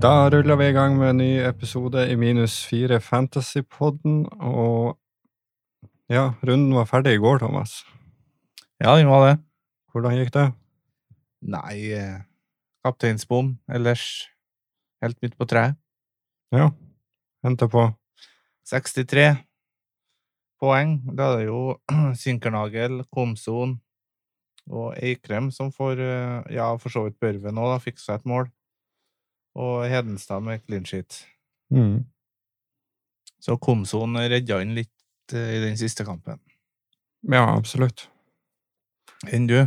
Da ruller vi i gang med en ny episode i minus fire Fantasypodden, og ja, runden var ferdig i går, Thomas. Ja, den var det. Hvordan gikk det? Nei, eh, kapteinsbom ellers helt midt på treet. Ja, endte på 63 poeng. Da er det jo Sinkernagel, Komson og Eikrem som får eh, Ja, for så vidt Børven òg, da. Fikk seg et mål. Og Hedenstad med clean sheet. mm. Så Komson redda inn litt eh, i den siste kampen. Ja, absolutt. Enn du?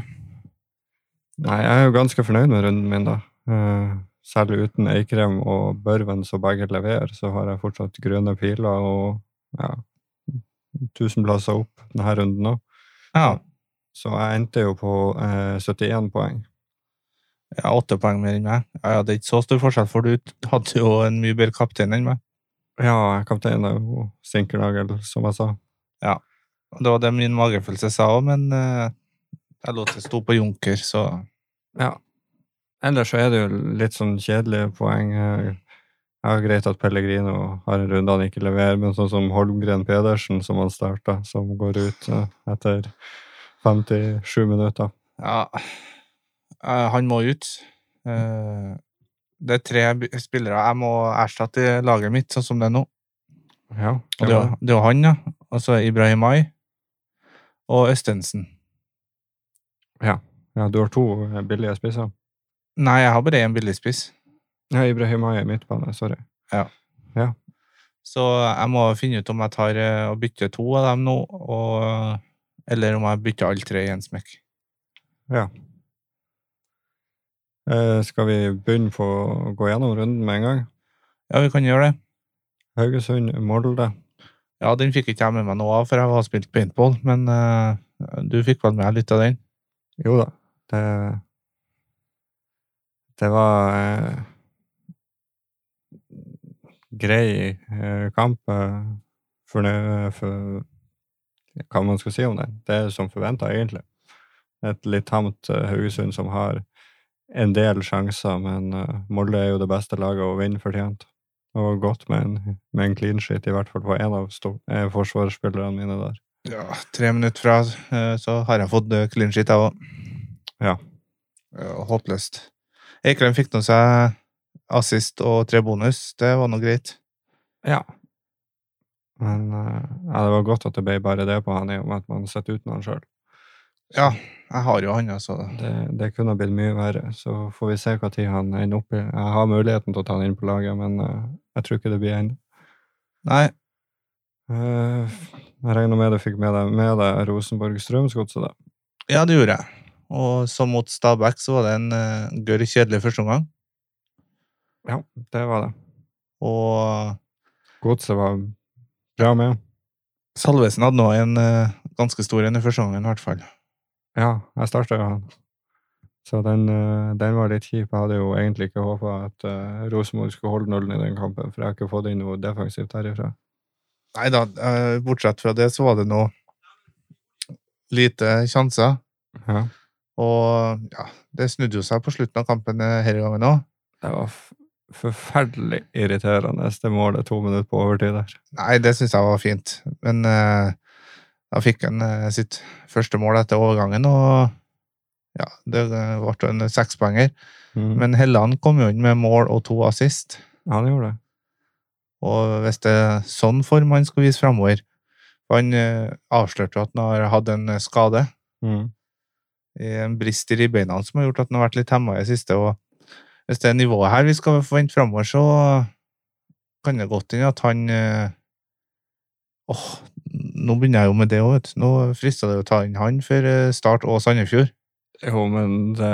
Nei, jeg er jo ganske fornøyd med runden min, da. Eh, Selv uten Eikrem og Børven som begge leverer, så har jeg fortsatt grønne piler og ja, 1000 plasser opp denne runden òg. Ja. Så jeg endte jo på eh, 71 poeng. Jeg har åtte poeng mer enn meg. Ja, ja, det er ikke så stor forskjell, for du hadde jo en mye bedre kaptein enn meg. Ja, kaptein er jo Sinkernagel, som jeg sa. Og Det var det min magefølelse sa òg, men eh, jeg lot det stå på Junker, så Ja. Ellers så er det jo litt sånn kjedelige poeng. Eh, Ja, greit at Pellegrino har en runde han ikke leverer, men sånn som Holmgren Pedersen, som han starta, som går ut eh, etter 57 minutter. ja. eh, Han må ut. Eh, Det er tre by- spillere jeg må erstatte i laget mitt, sånn som det er nå. Ja, Og det, er jo- det er jo han, ja. Og så er Ibrahimai og Østensen. ja, du har to eh, billige spisser. Nei, jeg har bare én billigspiss, Ja, Ibrahimay er midtbane, sorry. så jeg må finne ut om jeg tar eh, og bytter to av dem nå, og, eller om jeg bytter alle tre i en smekk. Eh, skal vi begynne på å gå gjennom runden med en gang? Ja, vi kan gjøre det. Haugesund, Molde. Ja, den fikk ikke jeg med meg noe av, for jeg har spilt paintball, men eh, du fikk vel med litt av den? Jo da, det Det var eh, grei eh, kamp. Eh, for, nø- for hva man skal si om det. Det er som forventa, egentlig. Et litt tamt eh, Haugesund som har en del sjanser, men eh, Molde er jo det beste laget å vinne fortjent. Og godt med en, med en clean sheet, i hvert fall på én av sto- eh, forsvarsspillerne mine der. Ja, tre minutter fra, eh, så har jeg fått eh, clean sheet, jeg òg. Ja. Håpløst. Eikrem fikk nå seg assist og tre bonus, det var nå greit. Ja. Men eh, ja, det var godt at det ble bare det på han, i og med at man sitter uten han sjøl. Ja, jeg har jo han, altså. Det, det kunne ha blitt mye verre. Så får vi se hva tid han ender opp i. Jeg har muligheten til å ta han inn på laget, men eh, jeg tror ikke det blir en. Nei, Eh, jeg regner med du fikk med deg, med deg Rosenborg-Strømsgodset, da. ja, det gjorde jeg. Og som mot Stabæk så var det en uh, gørr kjedelig førsteomgang, Det var det. og Godset var bra med. Salvesen hadde nå en eh, ganske stor en i første omgang, i hvert fall. Ja, jeg starta jo han. Så den, eh, den var litt kjip. Jeg hadde jo egentlig ikke håpa at eh, Rosenborg skulle holde nullen i den kampen, for jeg har ikke fått inn noe defensivt herifra. Nei da, eh, bortsett fra det så var det nå lite sjanser. Ja. Og ja, det snudde jo seg på slutten av kampen eh, denne gangen òg. Det var f- forferdelig irriterende det målet to minutter på overtid der. Nei, det syns jeg var fint. Men eh, da fikk han eh, sitt første mål etter overgangen, og ja, det eh, ble jo en sekspoenger. Mm. Men Helland kom jo inn med mål og to assist. Han gjorde det. Og hvis det er sånn form han skal vise framover Han eh, avslørte jo at han har hatt en skade. Mm. en brist i ribbeina hans som har gjort at han har vært litt hemma i det siste. Og hvis det er nivået her vi skal forvente framover, så kan det godt hende at han eh, Åh, nå begynner jeg jo med det òg, vet du. Nå frister det å ta inn han for eh, Start og Sandefjord. Jo, men det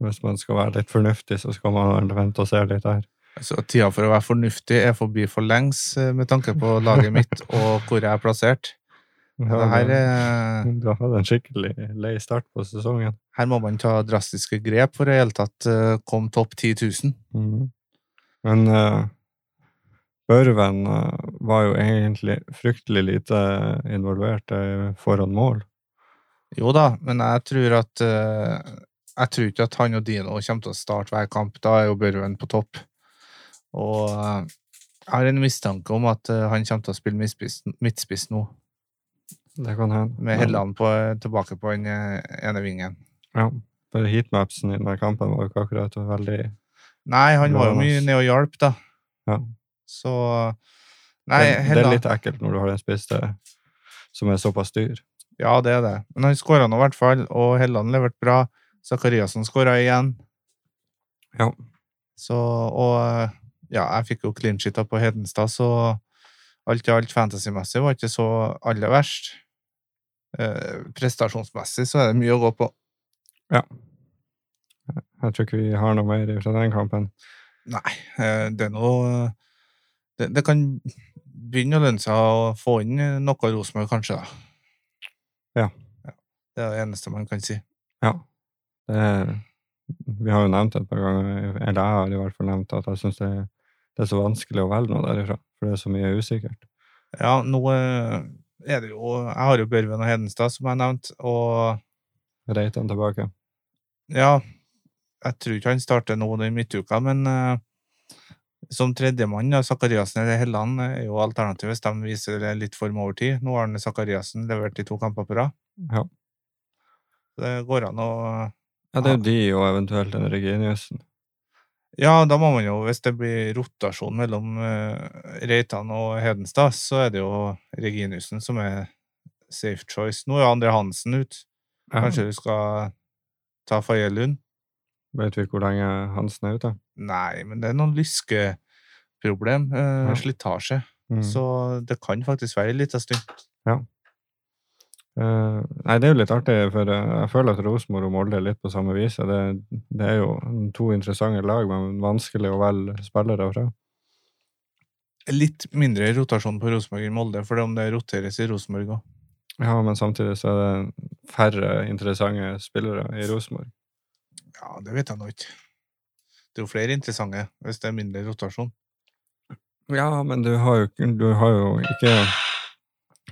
Hvis man skal være litt fornuftig, så skal man vel vente og se litt her. Så tida Altså, for å være fornuftig er forbi for lengs eh, med tanke på laget mitt og hvor jeg er plassert. Det her, eh, Du har hatt en skikkelig lei start på sesongen. her må man ta drastiske grep for å i det hele tatt eh, komme topp 10 000. Mm. Men eh, Børven eh, var jo egentlig fryktelig lite involvert eh, foran mål. Jo da, men jeg tror at eh, jeg tror ikke at han og Dino kommer til å starte hver kamp. Da er jo Børven på topp. Og eh, jeg har en mistanke om at eh, han kommer til å spille midtspiss, midtspiss nå, Det kan hende. med Men- Helland på, tilbake på den eh, ene vingen. Ja. For heatmapsen i denne kampen var jo ikke akkurat veldig Nei, han var jo Bra, mye ass. ned og hjalp, da. Ja. Så eh, Nei, det, det er Helland litt ekkelt når du har en spiss det- som er såpass dyr. Ja, det er det. Men han skåra nå i hvert fall, og Helland leverte bra. Zakariassen skåra igjen. Ja. Så, og eh, ja, jeg fikk jo clean sheeta på Hedenstad, så alt i alt fantasymessig var ikke så aller verst. Eh, prestasjonsmessig så er det mye å gå på. Jeg tror ikke vi har noe mer fra den kampen. Nei, eh, det er noe det, det kan begynne å lønne seg å få inn noe Rosenborg, kanskje, da. Ja. Ja, Det er det eneste man kan si. Ja. Det er, vi har jo nevnt det et par ganger, eller jeg har i hvert fall nevnt at jeg syns det, det er så vanskelig å velge noe derifra. For det er så mye usikkert. Ja, nå eh, er det jo Jeg har jo Børven og Hedenstad, som jeg nevnte, og Reitan tilbake. Ja, jeg tror ikke han starter nå i midtuka, men eh, som tredjemann, da, Sakariassen eller Helland, eh, er jo alternativet hvis de viser det litt form over tid. Nå har han Sakariassen levert i to kamper på rad. Ja. Det går an å Ja, det er jo de og eventuelt en Reginiussen. Ja, da må man jo, hvis det blir rotasjon mellom eh, Reitan og Hedenstad, så er det jo Reginiussen som er safe choice. Nå er André Hansen ut. Ja. Kanskje du skal ta Faye Lund? Vet vi hvor lenge Hansen er ute? Nei, men det er noen lyskeproblem. Eh, Ja. Slitasje. Mm. Så det kan faktisk være en liten stund. Eh, nei, det er jo litt artig, for eh, jeg føler at Rosenborg og Molde er litt på samme vis. og Det, det er jo to interessante lag, men vanskelig å velge spillere fra. Litt mindre rotasjon på Rosenborg enn Molde, for om det roteres i Rosenborg òg. Ja, Men samtidig så er det færre interessante spillere i Rosenborg. Ja, det vet jeg nå ikke. Det er jo flere interessante hvis det er mindre rotasjon. Ja, men du har jo, ikke- du har jo ikke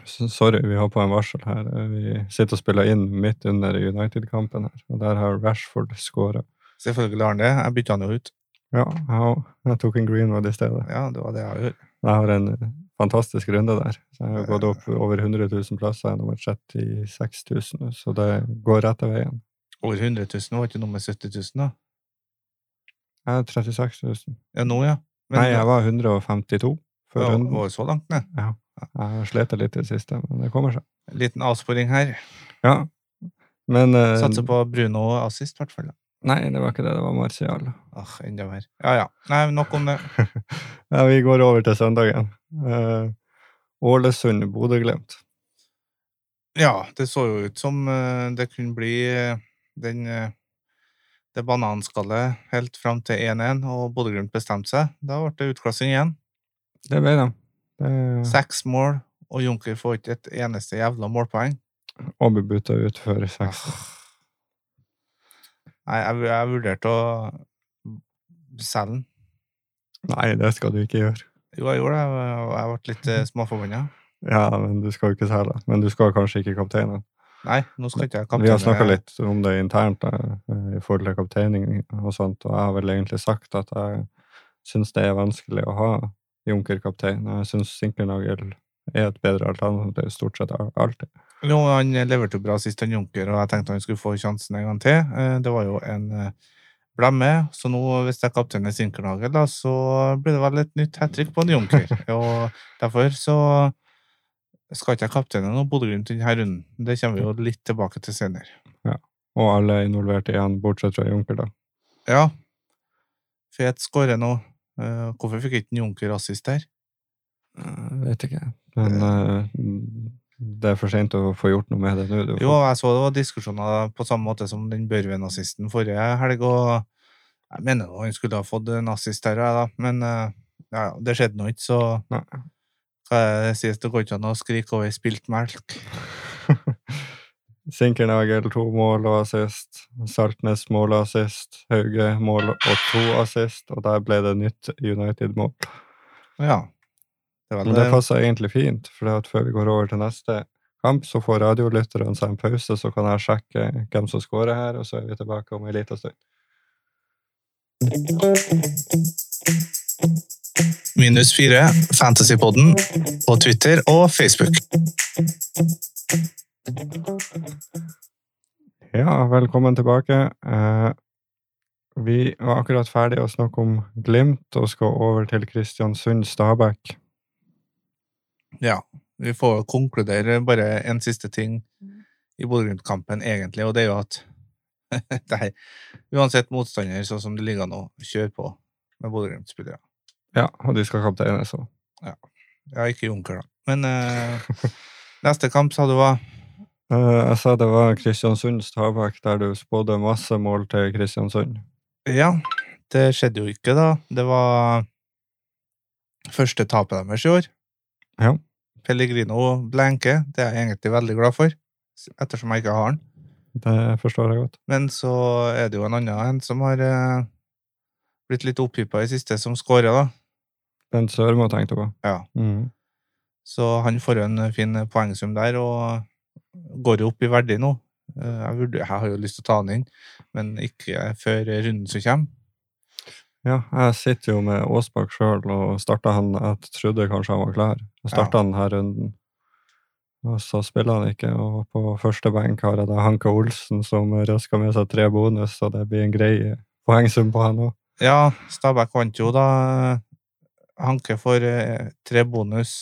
S- Sorry, vi har på en varsel her. Vi sitter og spiller inn midt under United-kampen her, og der har Rashford skåra. Selvfølgelig har han det. Jeg bytta han jo ut. Ja, jeg- jeg tok en Greenwood i stedet. Ja, det var det jeg gjorde. Jeg har en fantastisk runde der. Så jeg har gått Ja. opp over 100 000 plasser. Jeg er nummer 36 000, nå, så det går rette veien. Over 100 000 var ikke nummer 70 000, da. Jeg er 36 000. Ja, nå, ja. Men Nei, jeg var 152 før ja, runden. var jo så langt ned. Jeg har slitt litt i det siste, men det kommer seg. Liten avsporing her. Ja. Men eh, Satser på Bruno assist, i hvert fall. da. Nei, det var ikke det. Det var Martial. Ah, enda mer. Ja, ja. Nei, nok om det. Ja, vi går over til søndagen. Eh, Ålesund-Bodø-Glimt. Ja, det så jo ut som eh, det kunne bli eh, den, eh, det bananskallet helt fram til 1-1, og Bodø-Glimt bestemte seg. Da ble det utklassing igjen. Det ble de. Det- Seks mål, og Junker får ikke et eneste jævla målpoeng. Og ble bytta ut før seks. Nei, jeg, jeg vurderte å selge den. Nei, det skal du ikke gjøre. Jo, jeg gjorde det, og jeg ble litt eh, småforbanna. Ja, men du skal jo ikke selge. Men du skal kanskje ikke kapteine. Nei, nå skal ikke jeg Vi har kapteine- snakka litt om det internt da, i forhold til kapteining og sånt, og jeg har vel egentlig sagt at jeg syns det er vanskelig å ha junkerkaptein. Jeg syns Sinkernagel er et bedre alternativ stort sett al- alltid. Jo, han leverte jo bra sist, han Junker, og jeg tenkte han skulle få sjansen en gang til. Eh, Det var jo en eh, blemme, så nå, hvis det er kapteinen Sinkernagel, da, så blir det vel et nytt hat trick på en Junker. og derfor så skal ikke jeg kapteinen og Bodø-Glimt i denne runden. Det kommer vi jo litt tilbake til senere. Og alle er involvert i han, bortsett fra Junker, da. Ja, fet skårer nå. Eh, Hvorfor fikk ikke en Junker assist der? Jeg vet ikke. Men eh, det er for seint å få gjort noe med det nå. Du får- Jo, jeg så det var diskusjoner på samme måte som den Børven-assisten forrige helg, og jeg mener jo han skulle ha fått en assist her, jeg da, men eh, ja, ja, det skjedde nå ikke, så Nei. hva er det sies, det går ikke an å skrike over spilt melk. Sinkernagel to mål og assist. Saltnes mål og assist. Hauge mål og to assist, og der ble det nytt United-mål. Ja. Det er Men vel det det. passer egentlig fint, for det at før vi går over til neste kamp, så får radiolytterne seg en pause, så kan jeg sjekke hvem som scorer her, og så er vi tilbake om en liten stund. Minus fire, Fantasypodden på Twitter og Facebook. Ja, velkommen tilbake. Eh, vi var akkurat ferdig å snakke om Glimt, og skal over til Kristiansund-Stabæk. Ja, vi får konkludere bare en siste ting i Bodø-Glimt-kampen, egentlig, og det er jo at det her, uansett motstander, sånn som det ligger an nå, kjør på med Bodø-Glimt-spillere. Ja, og de skal kapteines òg. Ja, ikke Junker, da. Men eh, neste kamp sa du var Eh, Jeg sa det var Kristiansund-Stabæk, der du spådde masse mål til Kristiansund. Ja, det skjedde jo ikke, da. Det var første tapet deres i år. Ja. Pellegrino blenke. Det er jeg egentlig veldig glad for, ettersom jeg ikke har han. Det forstår jeg godt. Men så er det jo en annen en som har eh, blitt litt opphypa i siste, som scorer, da. Bent Sørmo tenkte jeg på. Ja. Mhm. Så han får jo en fin poengsum der, og går jo opp i verdi nå. Eh, Jeg, vurder, jeg har jo lyst til å ta han inn, men ikke før runden som kommer. Ja, jeg sitter jo med Aasbakk sjøl og starta han Jeg trodde kanskje han var klar. Jeg starta han her runden, og så spiller han ikke. Og på første benk har jeg da Hanke Olsen, som røsker med seg tre bonus, så det blir en grei poengsum på han òg. Ja, Stabæk vant jo da. eh, Hanke får eh, tre bonus.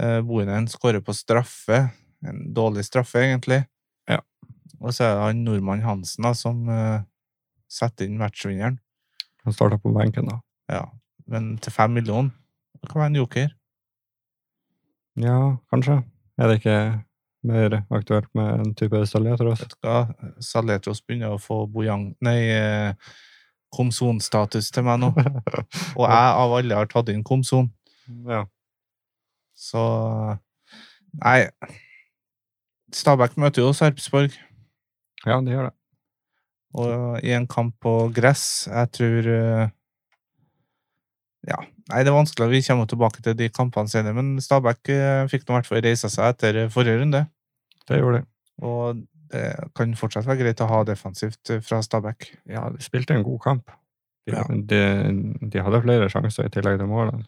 Eh, Bohinen skårer på straffe. En dårlig straffe, egentlig. Ja. Og så er det han nordmann Hansen da, som eh, setter inn matchvinneren. Han starta på benken, da. Ja. Men til fem millioner. Det kan være en joker. Ja, kanskje. Er det ikke mer aktuelt med en type installeter også? Vet du hva? Saletros begynner å få Bojang... Nei, eh, Komson-status til meg nå. Og jeg av alle har tatt inn Komson. ja. Så Nei. Stabæk møter jo Sarpsborg ja, det gjør det. og i en kamp på gress. Jeg tror eh, Ja, nei, det er vanskelig. Vi kommer tilbake til de kampene senere, men Stabæk eh, fikk nå i hvert fall reisa seg etter eh, forrige runde. Det gjorde de. Og det kan fortsatt være greit å ha defensivt eh, fra Stabæk. Ja, de spilte en god kamp. De, Ja. de, de hadde flere sjanser i tillegg til målene.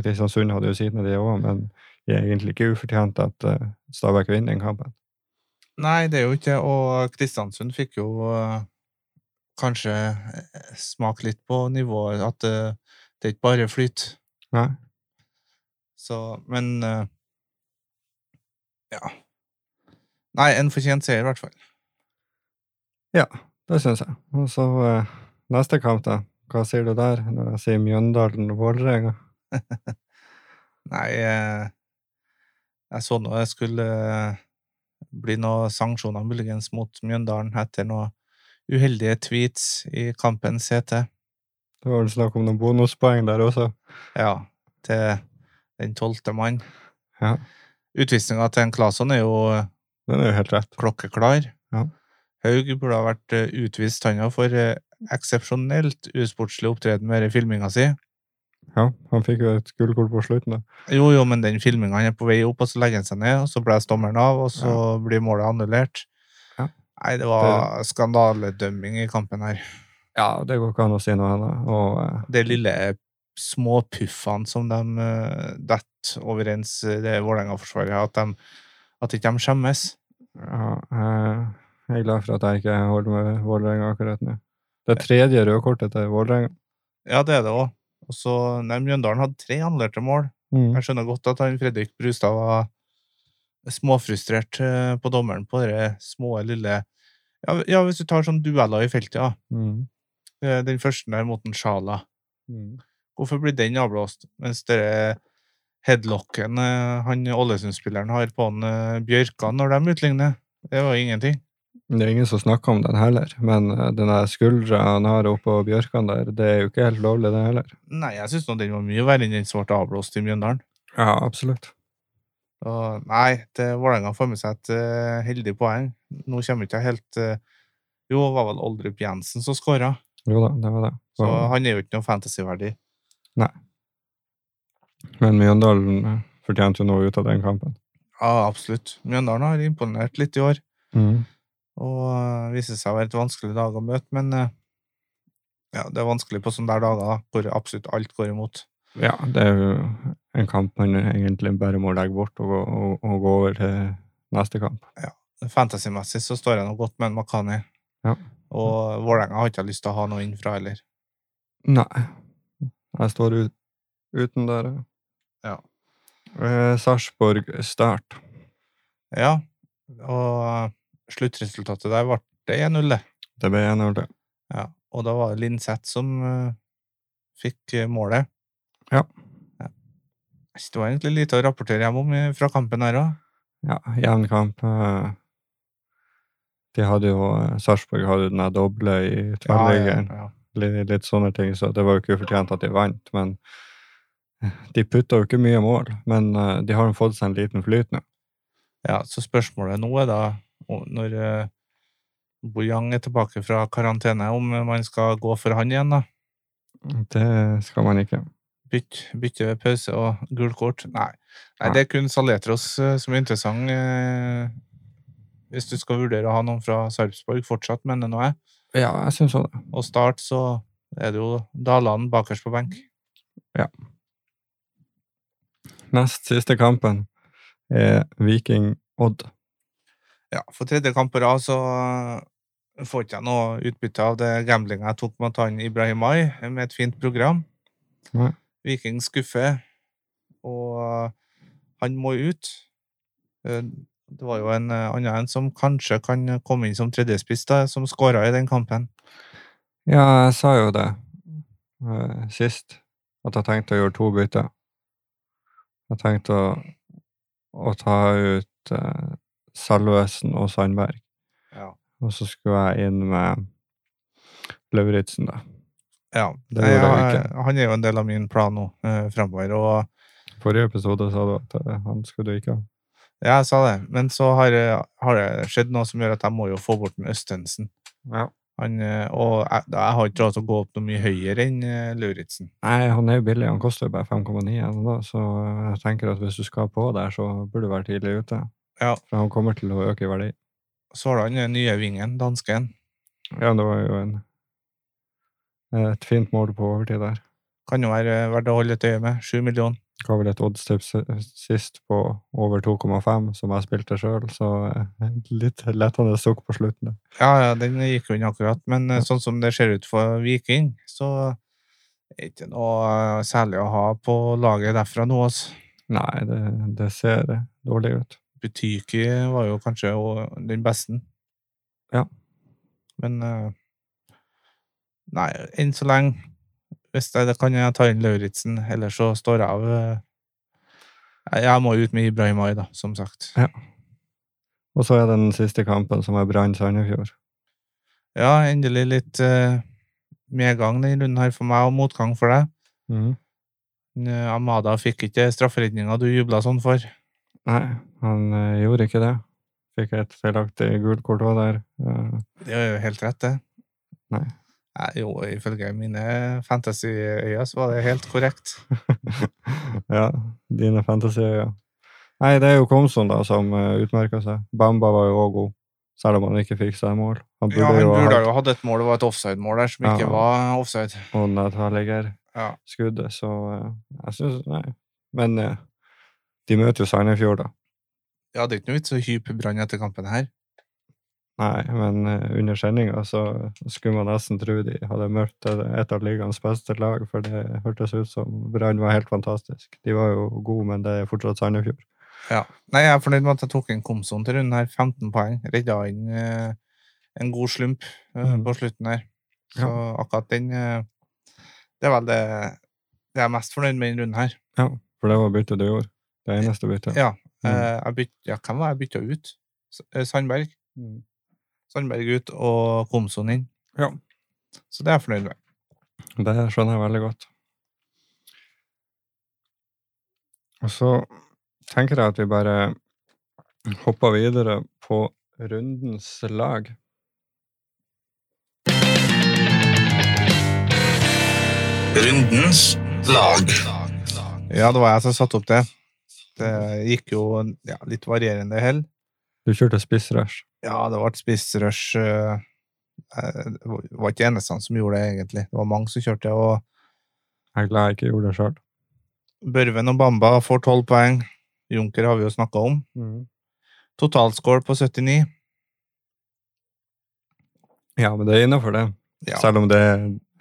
Kristiansund hadde jo sine, de òg, men det er egentlig ikke ufortjent at eh, Stabæk vinner den kampen. Nei, det er jo ikke Og Kristiansund fikk jo eh, kanskje eh, smake litt på nivået at eh, det er ikke bare flyt. Nei. Så, men eh, Ja. Nei, en fortjent seier, i hvert fall. Det syns jeg. Og så eh, neste kamp, da. Hva sier du der, når jeg sier Mjøndalen-Vålerenga? Nei eh, Jeg så nå det skulle eh, bli noen sanksjoner, muligens, mot Mjøndalen etter noen uheldige tweets i kampen CT. Det var vel snakk om noen bonuspoeng der også. Ja, til den tolvte mann. Ja. Utvisninga til en Claesson er jo eh, Den er jo helt rett. klokkeklar. Ja. Haug burde ha vært eh, utvist, han òg, for eh, eksepsjonelt usportslig opptreden med denne filminga si. Ja, han fikk jo et gullkort på slutten, da. Jo, jo, men den filminga han er på vei opp, og så legger han seg ned, og så blæs dommeren av, og så blir målet annullert. Ja. Nei, det var skandaledømming i kampen her. Ja, det går ikke an å si noe annet. Og eh, Det lille små puffene som de eh, detter overens eh, det Vålerenga-forsvaret, at, de- at ikke de skjemmes. Ja, eh, jeg er glad for at jeg ikke holder med Vålerenga akkurat nå. Det tredje røde kortet til Vålerenga. Ja, det er det òg. Og så Nei, Mjøndalen hadde tre annullerte mål. Mm, Jeg skjønner godt at han Fredrik Brustad var småfrustrert eh, på dommeren på det små, lille ja, ja, hvis du tar sånn dueller i feltet, ja. Mm. Eh, Den første der mot en Sjala. Mm. Hvorfor blir den avblåst? Mens det headlocken eh, han Ålesund-spilleren har på han eh, Bjørkan når de utligner, det var ingenting. Det er ingen som snakker om den heller, men eh, den der skuldra han har oppå Bjørkan der, det er jo ikke helt lovlig, det heller. Nei, jeg syns den var mye verre enn den som ble avblåst i Mjøndalen. Ja, absolutt. Og nei, det Vålerenga får med seg et eh, heldig poeng. Nå kommer ikke jeg helt eh, Jo, det var vel Oldrup Jensen som skåra, Jo da, det var det. så han er jo ikke noe fantasyverdig. eh, Men Mjøndalen fortjente jo noe ut av den kampen. Ja, absolutt. Mjøndalen har imponert litt i år. Mm. Og øh, viser seg å være et vanskelig dag å møte, men øh, ja, det er vanskelig på sånne der dager da, hvor absolutt alt går imot. Ja, det er jo en kamp man egentlig bare må legge bort og gå, og, og gå over til neste kamp. Fantasymessig så står jeg nå godt med en Makani. Ja. Og Vålerenga har ikke jeg lyst til å ha noe inn fra heller. Nei. Jeg står ut, uten der. Ja. Eh, Sarpsborg Start. Ja, og eh, sluttresultatet der ble det 1-0, det. Det ble 1-0 til. Ja, og da var det Linseth som eh, fikk eh, målet. Ja. Ja. Så Det var egentlig lite å rapportere hjem om eh, fra kampen her òg. Ja, jevn kamp. eh. De hadde jo eh, Sarpsborg hadde jo den der doble i tverrliggeren. ja. Litt, litt sånne ting, så det var jo ikke ufortjent at de vant, men eh, de putta jo ikke mye mål. Men eh, de har jo fått seg en liten flyt nå. ja, så spørsmålet nå er da, om- når eh, Bojang er tilbake fra karantene, om eh, man skal gå for han igjen, da. Det skal man ikke. Bytte, bytte pause og gult kort. Nei. Nei, det er kun Saletros eh, som er interessant. eh, Hvis du skal vurdere å ha noen fra Sarpsborg fortsatt, mener nå jeg. Ja, jeg syns òg det. og start, så er det jo Daland bakerst på benk. Nest siste kampen er Viking-Odd. Ja, for tredje kamp på rad så øh, får ikke jeg noe utbytte av det gamblinga jeg tok mot han Ibrahimai, med et fint program. Nei. Viking skuffer, og eh, han må ut. Eh, Det var jo en eh, annen en som kanskje kan komme inn som tredjespiss, da, som skåra i den kampen. Ja, jeg sa jo det eh, sist, at jeg tenkte å gjøre to bytter. Jeg tenkte å, å ta ut eh, Salvesen og Sandberg, Ja. og så skulle jeg inn med Lauritzen, da. ja. Det Nei, gjorde jeg jeg- eh, han er jo en del av min plan nå eh, framover, og Forrige episode sa du at eh, han skulle du ikke ha. Ja, jeg sa det, men så har, eh, har det skjedd noe som gjør at jeg må jo få bort den Østensen. Ja. Han, eh, og jeg, da- jeg har ikke råd til å gå opp noe mye høyere enn eh, Lauritzen. Nei, han er jo billig. Han koster jo bare 5,9 ennå, så jeg tenker at hvis du skal på der, så burde du være tidlig ute. Ja. For han kommer til å øke i verdi. Så har du han eh, nye vingen, dansken. Ja, det var jo en, et fint mål på overtid der. Kan jo være eh, verdt å holde et øye med. Sju millioner. Ga vel et oddstips sist på over 2,5, som jeg spilte sjøl, så eh, litt lettende sukk på slutten. der. Ja, ja, den gikk jo inn akkurat, men eh, sånn som det ser ut for Viking, så er det ikke noe eh, særlig å ha på laget derfra nå. Altså. Nei, det, det ser eh, dårlig ut. Butyki var jo kanskje jo den beste. Ja. Men eh, Nei, enn så lenge. Hvis det, det kan jeg ta inn Lauritzen, ellers så står jeg av eh, jeg- Jeg må ut med Ibrahimai, da, som sagt. Ja. Og så er det den siste kampen, som er Brann Sandefjord. Ja, endelig litt eh, medgang denne runden her for meg, og motgang for deg. Mhm. Men, eh, Amada fikk ikke strafferedninga du jubla sånn for. Nei, han eh, gjorde ikke det. Fikk et feilaktig gult kort òg der. Eh, Det er jo helt rett, det. Nei. Nei, jo, ifølge mine fantasyøyne så var det helt korrekt. Eh, ja, dine fantasyer, ja. Nei, det er jo Komson da som uh, utmerker seg. Bamba var jo òg god, selv om han ikke fikk seg mål. Han burde Ja, han jo ha burde hatt jo hatt et mål, det var et offside-mål der som ikke Ja. var offside. noen tverrligger Ja. skuddet, så eh, jeg syns Nei. Men eh, de møter jo Sandefjord, da. Ja, det er ikke noe vits å hype Brann etter kampen her. Nei, men eh, under sendinga så skulle man nesten tro de hadde møtt et av ligaens beste lag, for det hørtes ut som Brann var helt fantastisk. De var jo gode, men det er fortsatt Sandefjord. Ja. Nei, jeg er fornøyd med at jeg tok inn Komson til runden her. 15 poeng. Redda inn eh, en god slump eh, Mhm. på slutten her. Så akkurat den eh, Det er vel det, det jeg er mest fornøyd med i denne runden her. Ja, for det var byttet du gjorde. Det eneste byttet. Ja. Mhm. Eh, jeg byt, ja, hvem var jeg bytta ut? S eh, Sandberg. Mm. Sandberg ut og Komson inn. Ja. Så det er jeg fornøyd med. Det skjønner jeg veldig godt. Og så tenker jeg at vi bare hopper videre på rundens lag. Rundens lag. Ja, det var jeg som satte opp det. Det gikk jo ja, litt varierende hell. Du kjørte spissrush. Ja, det ble spissrush. eh, Det var ikke eneste som gjorde det, egentlig. Det var mange som kjørte, og Jeg er glad jeg ikke gjorde det sjøl. Børven og Bamba får tolv poeng. Junker har vi jo snakka om. Totalscore på 79. Ja, men det er innafor, det. Ja. Selv om det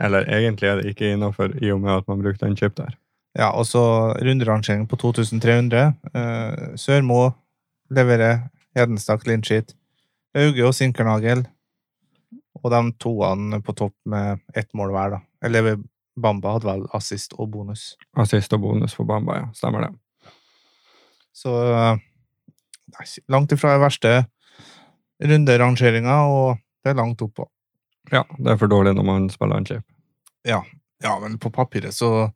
Eller egentlig er det ikke innafor, i og med at man brukte en chip der. Ja, og så runderangering på 2300. Eh, Sørmo leverer Hedenstad clean sheet. Auge og Sinkernagel. Og de toene på topp med ett mål hver, da. Eller Bamba hadde vel assist og bonus. Assist og bonus for Bamba, ja. Stemmer det. Så eh, det er ikke- langt ifra den verste runderangeringa, og det er langt oppå. Ja, det er for dårlig når man spiller en chip. Ja, men på papiret så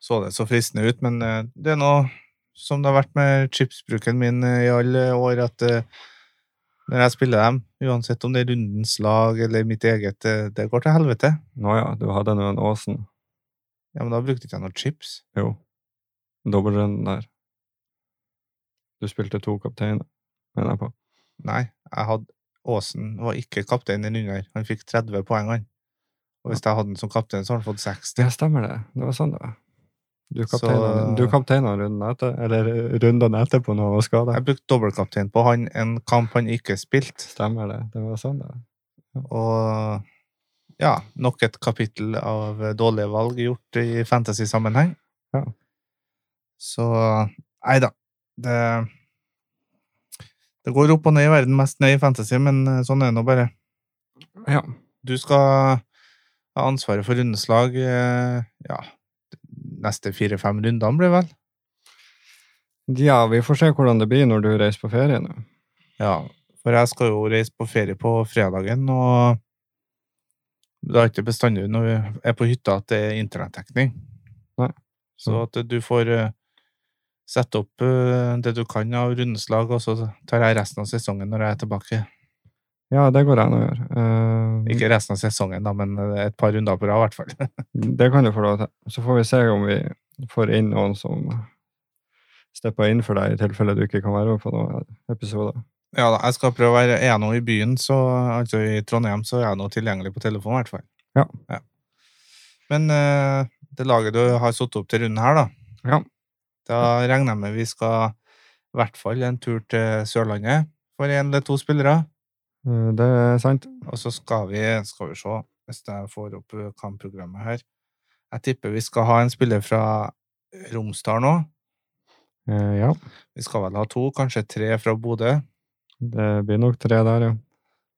så det så fristende ut, men eh, det er noe som det har vært med chipsbruken min eh, i alle år, at eh, når jeg spiller dem, uansett om det er rundens lag eller mitt eget, eh, det går til helvete. Nå ja, du hadde nå en Åsen. Ja, men da brukte ikke jeg noen chips. Jo. Dobbeltrunden der. Du spilte to kapteiner, mener jeg på. Nei, jeg hadde Aasen var ikke kaptein i runder. Han fikk 30 poeng, han. Og hvis jeg hadde han som kaptein, så hadde han fått 60. Ja, stemmer det. Det var sånn det var. Du Så- kapteina du kapteina runden etter, eller runden etterpå når han var skada. Jeg brukte dobbeltkaptein på han en kamp han ikke spilte. Stemmer det. Det var sånn det var. Og ja, nok et kapittel av dårlige valg gjort i fantasy-sammenheng. Ja. Så nei da. Det, det går opp og ned i verden, mest ned i fantasy, men eh, sånn er det nå bare. Ja. Du skal ha ansvaret for rundens lag eh, ja, neste fire-fem rundene, blir det vel? ja, vi får se hvordan det blir når du reiser på ferie nå. Ja, for jeg skal jo reise på ferie på fredagen, og det er ikke bestandig når vi er på hytta at det er internettdekning. Nei. Så at du får eh, sette opp eh, det du kan av rundeslag, og så tar jeg resten av sesongen når jeg er tilbake. Ja, det går an å gjøre. Eh, Ikke resten av sesongen, da, men eh, et par runder på rad, i hvert fall. Det kan du få lov til. Så får vi se om vi får inn noen som stepper inn for deg, i tilfelle du ikke kan være med på noen episoder. Ja da, jeg skal prøve å være Er jeg nå i byen, så altså i Trondheim, så er jeg nå tilgjengelig på telefon, i hvert fall. Ja. Men eh, det laget du har satt opp til runden her, da, Ja. Da regner jeg med vi skal i hvert fall en tur til Sørlandet for én eller to spillere. Eh, Det er sant. Og så skal vi, skal vi se, hvis jeg får opp eh, kampprogrammet her Jeg tipper vi skal ha en spiller fra Romsdal nå. Eh, Ja. Vi skal vel ha to, kanskje tre fra Bodø. Det blir nok tre der, ja.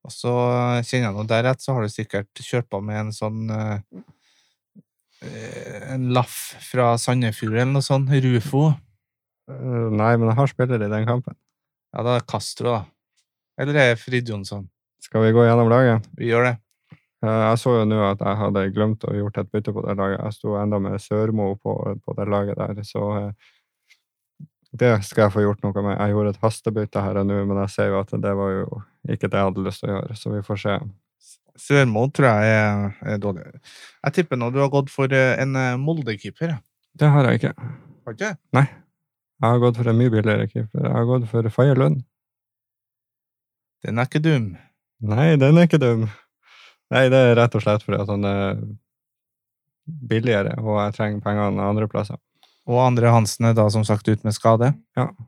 Og så eh, kjenner jeg nå der rett, så har du sikkert kjørt på med en sånn eh, eh, En laff fra Sandefjord eller noe sånt. Rufo. Eh, Nei, men jeg har spillere i den kampen. Ja, da er det Castro, da. Eller er det Frid Jonsson? Skal vi gå gjennom laget? Vi gjør det. Eh, Jeg så jo nå at jeg hadde glemt å gjort et bytte på det laget. Jeg sto enda med Sørmo på, på det laget der, så eh, det skal jeg få gjort noe med. Jeg gjorde et hastebytte her og nå, men jeg ser jo at det var jo ikke det jeg hadde lyst til å gjøre, så vi får se. Sørmo tror jeg er, er dårlig. Jeg tipper nå du har gått for eh, en eh, Molde-keeper. ja. Det har jeg ikke. Har ikke? Jeg har gått for en mye billigere keeper. Jeg har gått for Faye Lund. Den er ikke dum. Nei, den er ikke dum. Nei, det er rett og slett fordi at han er billigere, og jeg trenger pengene andre plasser. Og Andre Hansen er da som sagt ut med skade.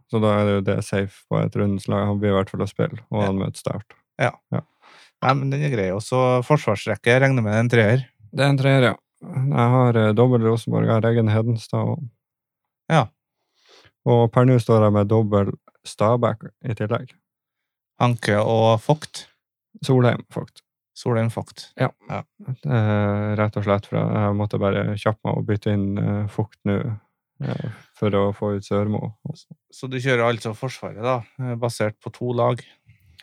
Så da er det jo det safe på et rundens lag. Han blir i hvert fall å spille, og han møter Start. Nei, men den er grei. Og så forsvarsrekke. Jeg regner med en treer. Det er en treer, ja. Jeg har eh, dobbel Rosenborg, jeg har egen Hedenstad. Og, Ja. og per nå står jeg med dobbel Stabæk i tillegg. Hanke og Vogt. Solheim, faktisk. Solheim Vogt. Eh, rett og slett, for jeg måtte bare kjappe meg og bytte inn eh, fukt nå eh, for å få ut Sørmo. Så du kjører altså Forsvaret, da, eh, basert på to lag.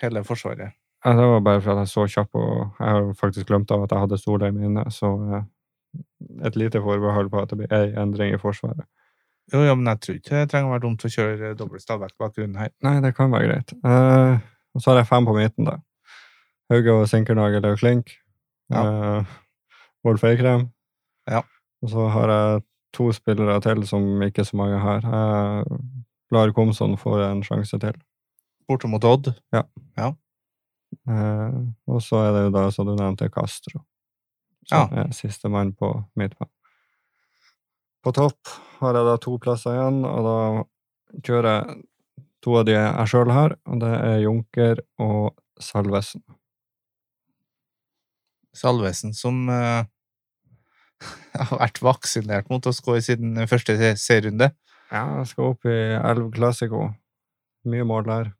Hele Forsvaret. Ja, Altså, det var bare for at jeg så kjapp, og jeg har faktisk glemt av at jeg hadde Solheim inne, så eh, et lite forbehold på at det blir ei endring i Forsvaret. Jo, ja, men jeg tror ikke det trenger å være dumt å kjøre eh, doble Stabæk bak grunnen her. Nei, det kan være greit. Eh, og så har jeg fem på midten, da. Hauge og Sinkernagel og Klink. Eh, Wolf Eikrem. Ja. Og så har jeg to spillere til som ikke så mange har. Jeg lar Eh, Komson få en sjanse til. Borte mot Odd. Eh, og så er det jo da, som du nevnte, Castro. Ja. Som er siste mann på midtbanen. På topp har jeg da to plasser igjen, og da kjører jeg to av de jeg sjøl har, og det er Junker og Salvesen. Salvesen, som eh, har vært vaksinert mot å skåre siden første se- serierunde. Ja, jeg skal opp i Elv Classico. Mye mål der.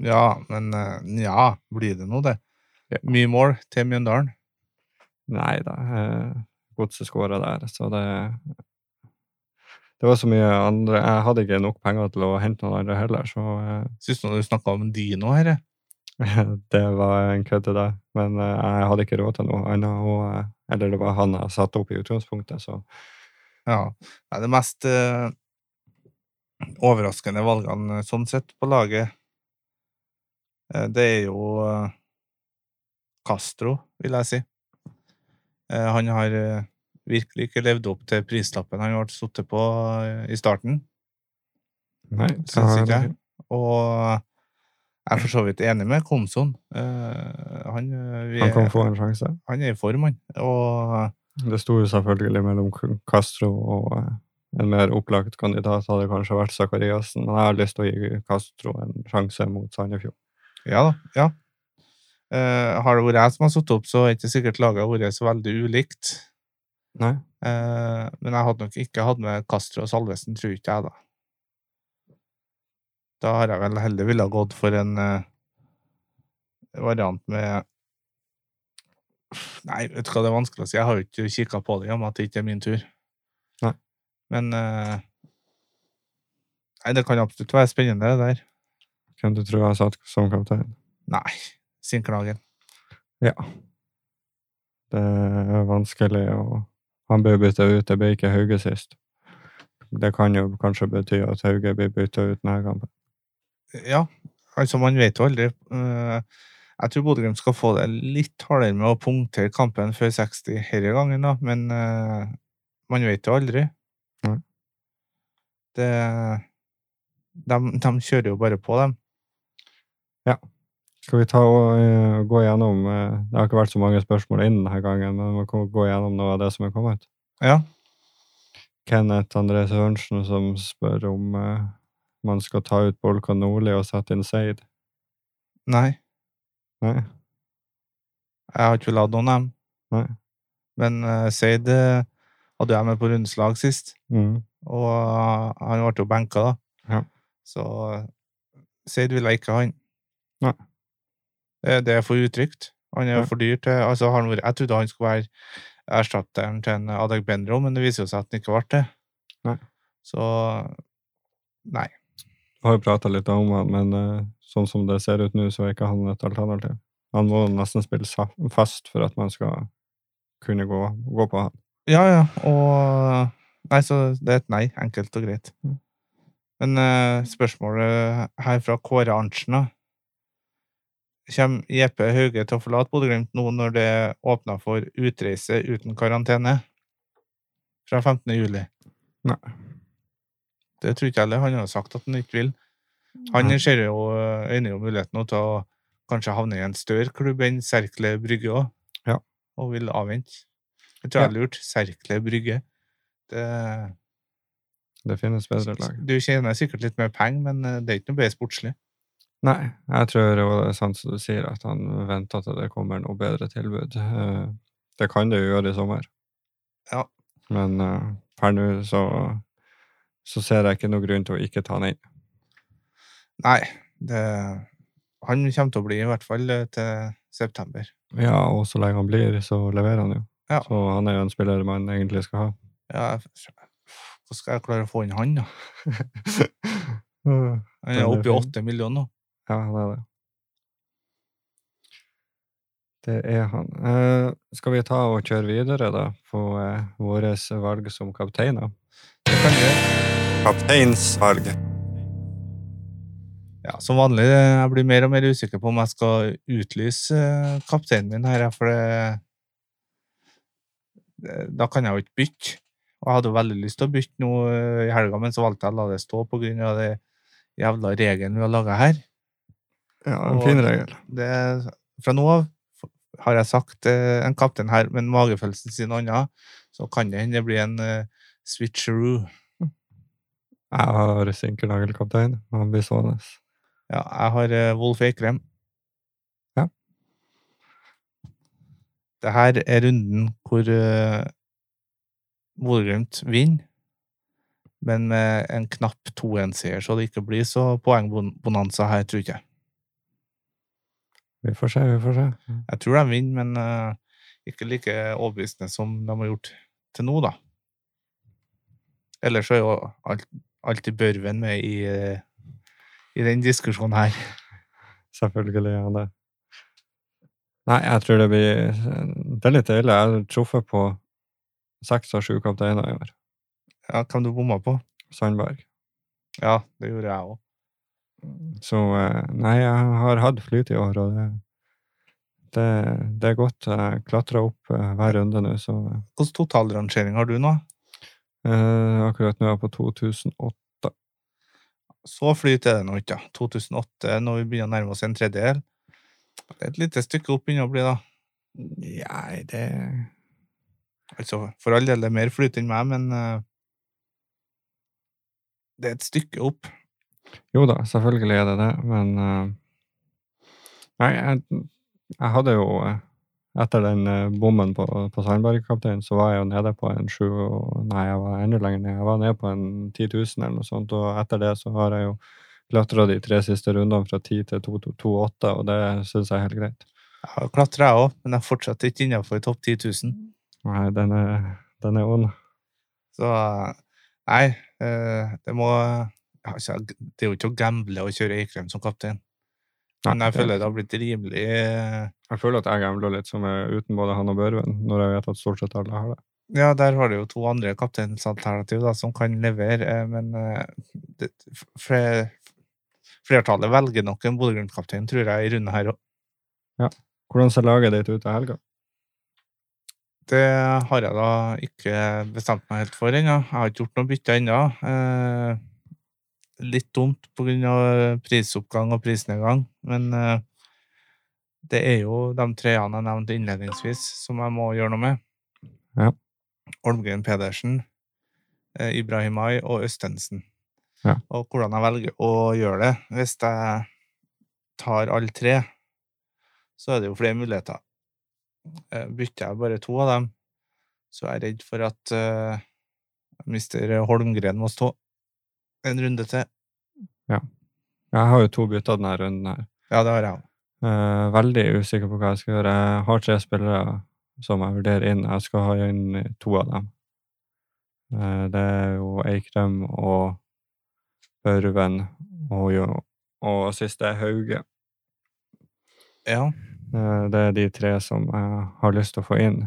Ja, men eh, ja, blir det nå det? Ja. Mye mål til Mjøndalen. Nei da, eh, Godset skåra der, så det Det var så mye andre Jeg hadde ikke nok penger til å hente noen andre heller, så eh, Syns nå du snakka om Dino her. eh? jeg. Det var en kødd til deg, men eh, jeg hadde ikke råd til noe annet. Og, eh, eller det var han jeg satte opp i utgangspunktet, så Ja. Det er det mest eh, overraskende valgene eh, sånn sett på laget. Eh, det er jo eh, Castro, vil jeg si. Eh, han har eh, virkelig ikke levd opp til prislappen han ble sittet på eh, i starten. nei. det Syns var ikke jeg. det- Og eh, jeg er for så vidt enig med Komson. Eh, han, eh, vi Han kan er- få en sjanse. han er i form, han. Og Det sto jo selvfølgelig mellom K- Castro og eh, en mer opplagt kandidat hadde kanskje vært Zakariassen, men jeg har lyst til å gi Castro en sjanse mot Sandefjord. ja da. Ja. Eh, har det vært jeg som har satt opp, så er ikke sikkert laget har vært så veldig ulikt. Nei. Eh, men jeg hadde nok ikke hatt med Castro og Salvesen, tror ikke jeg, da. Da har jeg vel heller ville ha gått for en eh, variant med Nei, vet du hva det er vanskelig å si. Jeg har jo ikke kikka på det, i og med at det ikke er min tur. Nei. Men eh, Nei, det kan absolutt være spennende, det der. Hvem du tror jeg satt som kaptein? Nei, Sinkernagel. Ja. Det er vanskelig å Han ble bytta ut, det ble ikke Hauge sist. Det kan jo kanskje bety at Hauge blir bytta ut denne kampen. Ja, altså man vet jo aldri. Eh, Jeg tror Bodø-Glimt skal få det litt hardere med å punktere kampen før 60 denne gangen, da, men eh, man vet jo aldri. Nei. Det de, kjører jo bare på, dem. Skal vi ta og eh, gå gjennom eh, Det har ikke vært så mange spørsmål inn denne gangen, men vi kan gå gjennom noe av det som er kommet. Ja. Kenneth André Sørensen som spør om eh, man skal ta ut Bolkan Nordli og sette inn Seid. Nei, Nei, jeg har ikke ladd noen av dem. Nei. Men uh, Seid eh, hadde jeg med på rundeslag sist. mm. Og eh, han ble jo benka, da. Ja. Så eh, Seid ville jeg ikke ha han. Nei. Eh, Det er for utrygt. Han er Ja. jo for dyr til altså, har han, vært- Jeg trodde han skulle være erstatteren til en Adek Bendro, men det viser jo seg at han ikke ble det. Nei. Så Nei. Vi har jo prata litt om han, men eh, sånn som det ser ut nå, så er ikke han et alternativ. Han må nesten spille sa- fast for at man skal kunne gå, gå på han. Ja, ja, og Nei, så det er et nei. Enkelt og greit. Mm. Men eh, spørsmålet her fra Kåre Arntzen, da. Kommer Jeppe Hauge til å forlate Bodø-Glimt nå når det åpner for utreise uten karantene? Fra 15. juli. Nei. Det tror ikke jeg heller. Han har jo sagt at han ikke vil. Han Nei. ser jo eh, øyner jo muligheten nå til å kanskje havne i en større klubb enn Serkle Brygge òg, Ja. og vil avvente. Jeg tror Ja. jeg er lurt. Serkle Brygge. Det, Det finnes bedre lag. du tjener sikkert litt mer penger, men eh, det er ikke noe bedre sportslig. Nei, jeg tror jo det er sant som du sier, at han venter til det kommer noe bedre tilbud. Eh, Det kan det jo gjøre i sommer. Ja. Men eh, per nå så, så ser jeg ikke noe grunn til å ikke ta han inn. Nei, det, han kommer til å bli i hvert fall eh, til september. Ja, og så lenge han blir, så leverer han jo. Ja. Så han er jo en spiller man egentlig skal ha. Ja, hvordan skal jeg klare å få inn han, da? Mm. Han er Veldig oppe i fint. åtte millioner nå. Ja, han er det. Det er han. Eh, skal vi ta og kjøre videre, da, på eh, våres valg som kapteiner? Det kan gjøre. Kapteinsvalg. Ja, som vanlig. eh, Jeg blir mer og mer usikker på om jeg skal utlyse eh, kapteinen min her, ja, for det det- Da kan jeg jo ikke bytte. Og jeg hadde jo veldig lyst til å bytte nå eh, i helga, men så valgte jeg å la det stå på grunn av det jævla regelen vi har laga her. Ja, en Og- fin regel. Det, fra nå av har jeg sagt eh, en kaptein her, men magefølelsen sier noe annet. Så kan det hende det blir en eh, switcheroo. Jeg har sinkernagelkaptein. Han blir stående. Ja, jeg har eh, Wolf Eikrem. Ja. Det her er runden hvor uh, Bodø-Glimt vinner, men med en knapp 2-1-seier, så det ikke blir så poengbonanza her, tror ikke jeg. Vi får se, vi får se. Jeg tror de vinner, men eh, ikke like overbevisende som de har gjort til nå, da. Ellers så er jo alt, alltid Børven med i, eh, i den diskusjonen her. Selvfølgelig er han det. Nei, jeg tror det blir Det er litt ille. Jeg har truffet på seks av sju kapteiner i år. Ja, hvem du bomma på? Sandberg. Ja, det gjorde jeg òg. Så eh, nei, jeg har hatt flyt i år, og det, det, det er godt. Jeg klatrer opp eh, hver runde nå, så Hvilken totalrangering har du nå? eh, akkurat nå er jeg på 2008. Så flyt er det nå ikke. da. 2008, når vi begynner å nærme oss en tredjedel. Det er et lite stykke opp begynner å bli, da. Nei, det Altså, for all del, det er mer flyt enn meg, men eh, det er et stykke opp. Jo da, selvfølgelig er det det, men eh, Nei, jeg, jeg hadde jo eh, Etter den eh, bommen på, på Sandberg-kapteinen, så var jeg jo nede på en sju og- Nei, jeg var enda lenger ned. Jeg var nede på en 10 000 eller noe sånt, og etter det så har jeg jo klatra de tre siste rundene fra 10 til 2-8, og det syns jeg er helt greit. Jeg har klatra, jeg òg, men jeg fortsetter ikke innenfor topp 10 000. Nei, den er, den er ond. Så eh, nei, eh, det må altså, jeg har ikke- Det er jo ikke å gamble å kjøre Eikrem som kaptein. Men jeg føler det har blitt rimelig eh, jeg føler at jeg gambler litt som er uten både han og Børven, når jeg vet at stort sett alle har det. Ja, der har du jo to andre kapteinsalternativ da, som kan levere, eh, men eh, det, fle- flertallet velger nok en Bodø-Glimt-kaptein, tror jeg, i runden her òg. Hvordan ser laget ditt ut til helga? Det har jeg da ikke bestemt meg helt for ennå. Jeg har ikke gjort noe bytte ennå. Eh, Litt dumt pga. prisoppgang og prisnedgang, men eh, det er jo de treene jeg nevnte innledningsvis, som jeg må gjøre noe med. Ja. Olmgren Pedersen, eh, Ibrahimai og Østensen. Ja. Og hvordan jeg velger å gjøre det. Hvis jeg tar alle tre, så er det jo flere muligheter. Eh, Bytter jeg bare to av dem, så er jeg redd for at eh, mister Holmgren må stå en runde til. Jeg har jo to bytter denne runden her. Ja, det har jeg òg. Eh, veldig usikker på hva jeg skal gjøre. Jeg har tre spillere som jeg vurderer inn. Jeg skal ha inn to av dem. Eh, det er jo Eikrem og Børven og, jo- og sist er Hauge. Ja. Eh, Det er de tre som jeg har lyst til å få inn.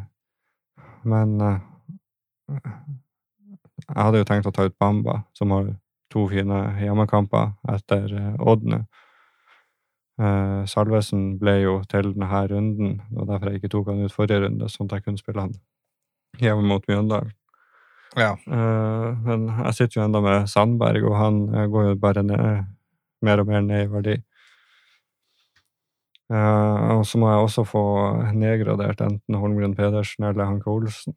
Men eh, jeg hadde jo tenkt å ta ut Bamba, som har to fine hjemmekamper etter eh, Odd nå. Eh, Salvesen ble jo til denne runden, og derfor jeg ikke tok han ut forrige runde, sånn at jeg kunne spille han hjemme mot Mjøndalen. Ja. Eh, men jeg sitter jo enda med Sandberg, og han eh, går jo bare ned, mer og mer ned i verdi. Eh, og så må jeg også få nedgradert enten Holmgren Pedersen eller Hanke Olsen.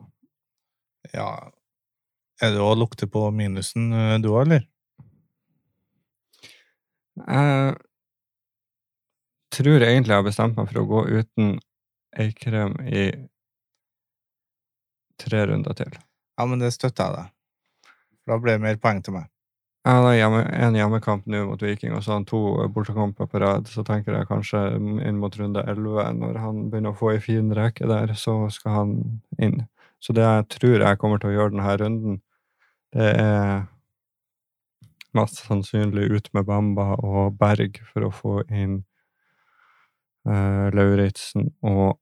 ja. Er det å lukte på minusen eh, du òg, eller? Jeg tror egentlig jeg har bestemt meg for å gå uten Eikrem i tre runder til. Ja, men det støtter jeg deg. For Da blir det mer poeng til meg. Jeg har da hjemme, en hjemmekamp nå mot Viking, og så har han to bortekamper på rad. Så tenker jeg kanskje inn mot runde 11, når han begynner å få ei fin rekke der, så skal han inn. Så det jeg tror jeg kommer til å gjøre denne runden, det er mest sannsynlig ut med Bamba og Berg for å få inn uh, Lauritzen og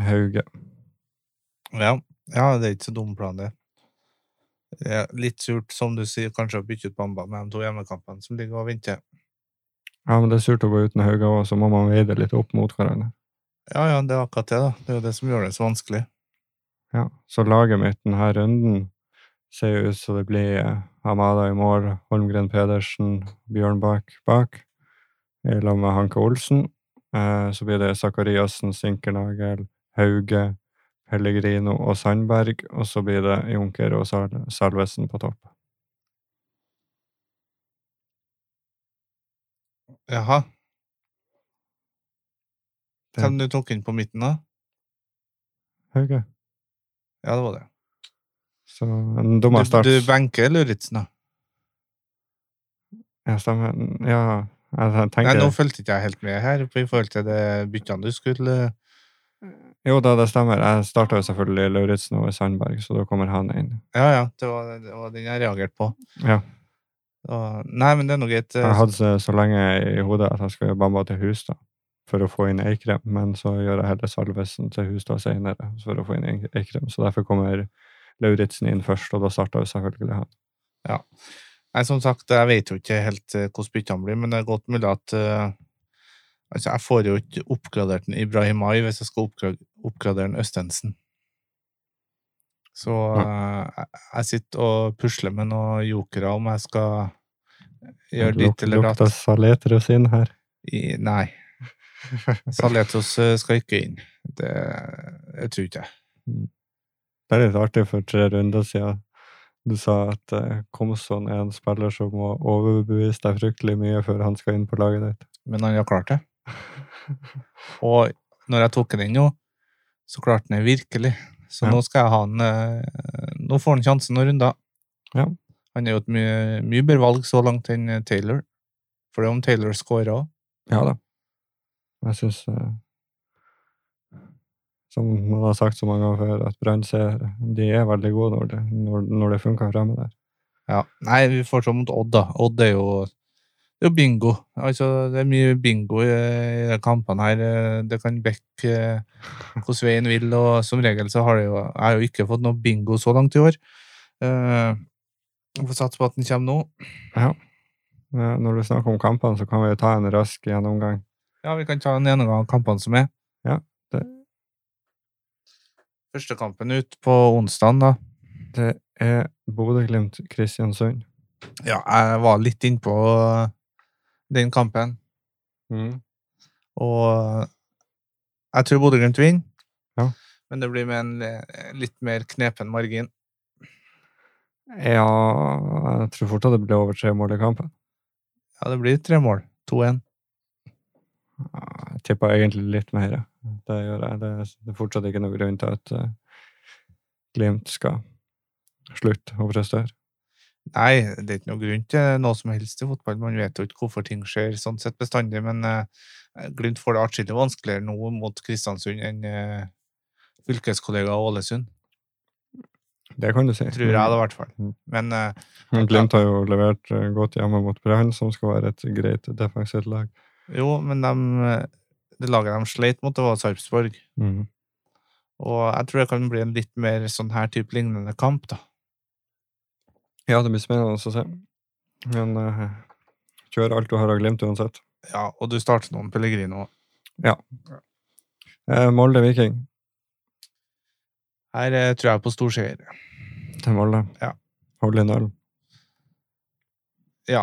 Hauge. Ja. ja, det er ikke så dum plan, det. Det er litt surt, som du sier, kanskje å bytte ut Bamba med de to hjemmekampene som ligger og venter. Ja, men det er surt å gå uten Hauge òg, så må man veie det litt opp mot hverandre. Ja, ja, det er akkurat det, da. Det er jo det som gjør det så vanskelig. Ja, så laget mitt denne runden ser jo ut som det blir eh, Hamada i mål, Holmgren Pedersen, Bjørnbakk bak, i lag med Hanke Olsen. Eh, Så blir det Sakariassen, Sinkernagel, Hauge, Pellegrino og Sandberg, og så blir det Junker og Sal- Salvesen på topp. Jaha. Det- Hvem du tok inn på midten, da? Hauge. Ja, det var det. Så en Du, dummere start. du benker Lauritzen, da? Ja, stemmer. Ja, jeg jeg Nei, tenker nå fulgte ikke jeg helt med her på i forhold til det byttene du skulle eh, Jo da, det stemmer. Jeg starta jo selvfølgelig Lauritzen over Sandberg, så da kommer han inn. Ja, ja. Det var, det var den jeg reagerte på. Ja. Og, nei, men det er eh, nå greit. Jeg hadde så, så lenge i hodet at jeg skulle gjøre Bamba til hus da, for å få inn Eikrem, men så gjør jeg heller Salvesen til hus da senere for å få inn Eikrem, så derfor kommer Lauritzen inn først, og da starta jo selvfølgelig han. Nei, som sagt, jeg vet jo ikke helt eh, hvordan byttene blir, men det er godt mulig at eh, Altså, jeg får jo ikke oppgradert den Ibrahimai hvis jeg skal oppgra oppgradere den Østensen. Så eh, jeg, jeg sitter og pusler med noen jokere om jeg skal gjøre ditt eller datt. Lukta Saletrus inn her. I, nei. Saletos eh, skal ikke inn. Det jeg tror ikke jeg. Det er litt artig, for tre runder siden du sa at eh, Komson er en spiller som må overbevise deg fryktelig mye før han skal inn på laget ditt. Men han har klart det. Og når jeg tok den inn nå, så klarte han det virkelig. Så Ja. nå skal jeg ha han eh, Nå får han sjansen noen runder. Ja. Han er jo et mye, mye bedre valg så langt enn eh, Taylor. For det er om Taylor scorer òg. Ja da. Jeg syns Som man har sagt så mange ganger før, at Brann ser De er veldig gode når det, når, når det funker fremme der. Ja. Nei, vi får se mot Odd, da. Odd er jo, det er jo bingo. Altså, det er mye bingo i, i de kampene her. Eh, Det kan backe eh, hvordan veien vil, og som regel så har det jo, jeg har jo ikke fått noe bingo så langt i år. Eh, vi får satse på at den kommer nå. Eh, Når du snakker om kampene, så kan vi ta en rask gjennomgang. Ja, vi kan ta en gjennomgang av kampene som er. Ja, det- Første kampen ut på onsdagen, da. Det er Bodø-Glimt-Kristiansund. Ja, jeg var litt innpå eh, den kampen, Mm. og jeg tror Bodø-Glimt vinner. Ja. Men det blir med en eh, litt mer knepen margin. Ja Jeg tror fort at det blir over tre mål i kampen. Ja, det blir tre mål. 2-1. Ja, Jeg tippa egentlig litt mer. ja. Det gjør jeg. Det er- det er fortsatt ikke noen grunn til at eh, Glimt skal slutte å prestere. Nei, det er ikke noe grunn til noe som helst i fotball. Man vet jo ikke hvorfor ting skjer sånn sett bestandig, men eh, Glimt får det atskillig vanskeligere nå mot Kristiansund enn eh, fylkeskollega Ålesund. Det kan du si. Tror jeg, da, i hvert fall. Mm. Men eh, Men Glimt har jo levert eh, godt hjemme mot Brann, som skal være et greit defensivt lag. jo, men dem, eh, det laget de sleit mot, det var Sarpsborg. Mm. Og jeg tror det kan bli en litt mer sånn her type lignende kamp, da. Ja, det blir spennende å se. Men eh, kjør alt du har av Glimt uansett. Ja, og du starter nå med Pellegrino. Eh, Molde Viking Her eh, tror jeg på storseier. til Molde. Ja. Hold i null. Ja,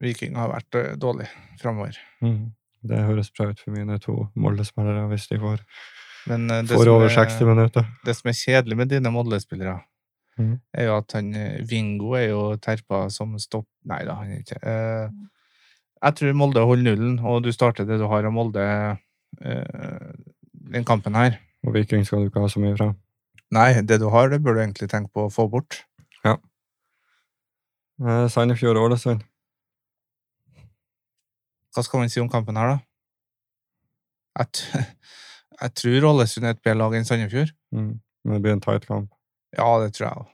Viking har vært eh, dårlig framover. Mhm. Det høres bra ut for mine to Molde-spillere, hvis de får, Men eh, det, får som over er, 60 minutter. det som er kjedelig med dine Modle-spillere, Mhm. er jo at han eh, Vingo er jo terpa som stopp... Nei da, han er ikke eh, Jeg tror Molde holder nullen, og du starter det du har av Molde eh, den kampen her. Og Viking skal du ikke ha så mye fra. Nei, det du har, det bør du egentlig tenke på å få bort. Eh, Sandefjord og Ålesund. Hva skal man si om kampen her, da? Jeg, t jeg tror Ålesund er et bedre lag enn Sandefjord. Mhm. Men det blir en tight kamp, Ja, det tror jeg òg.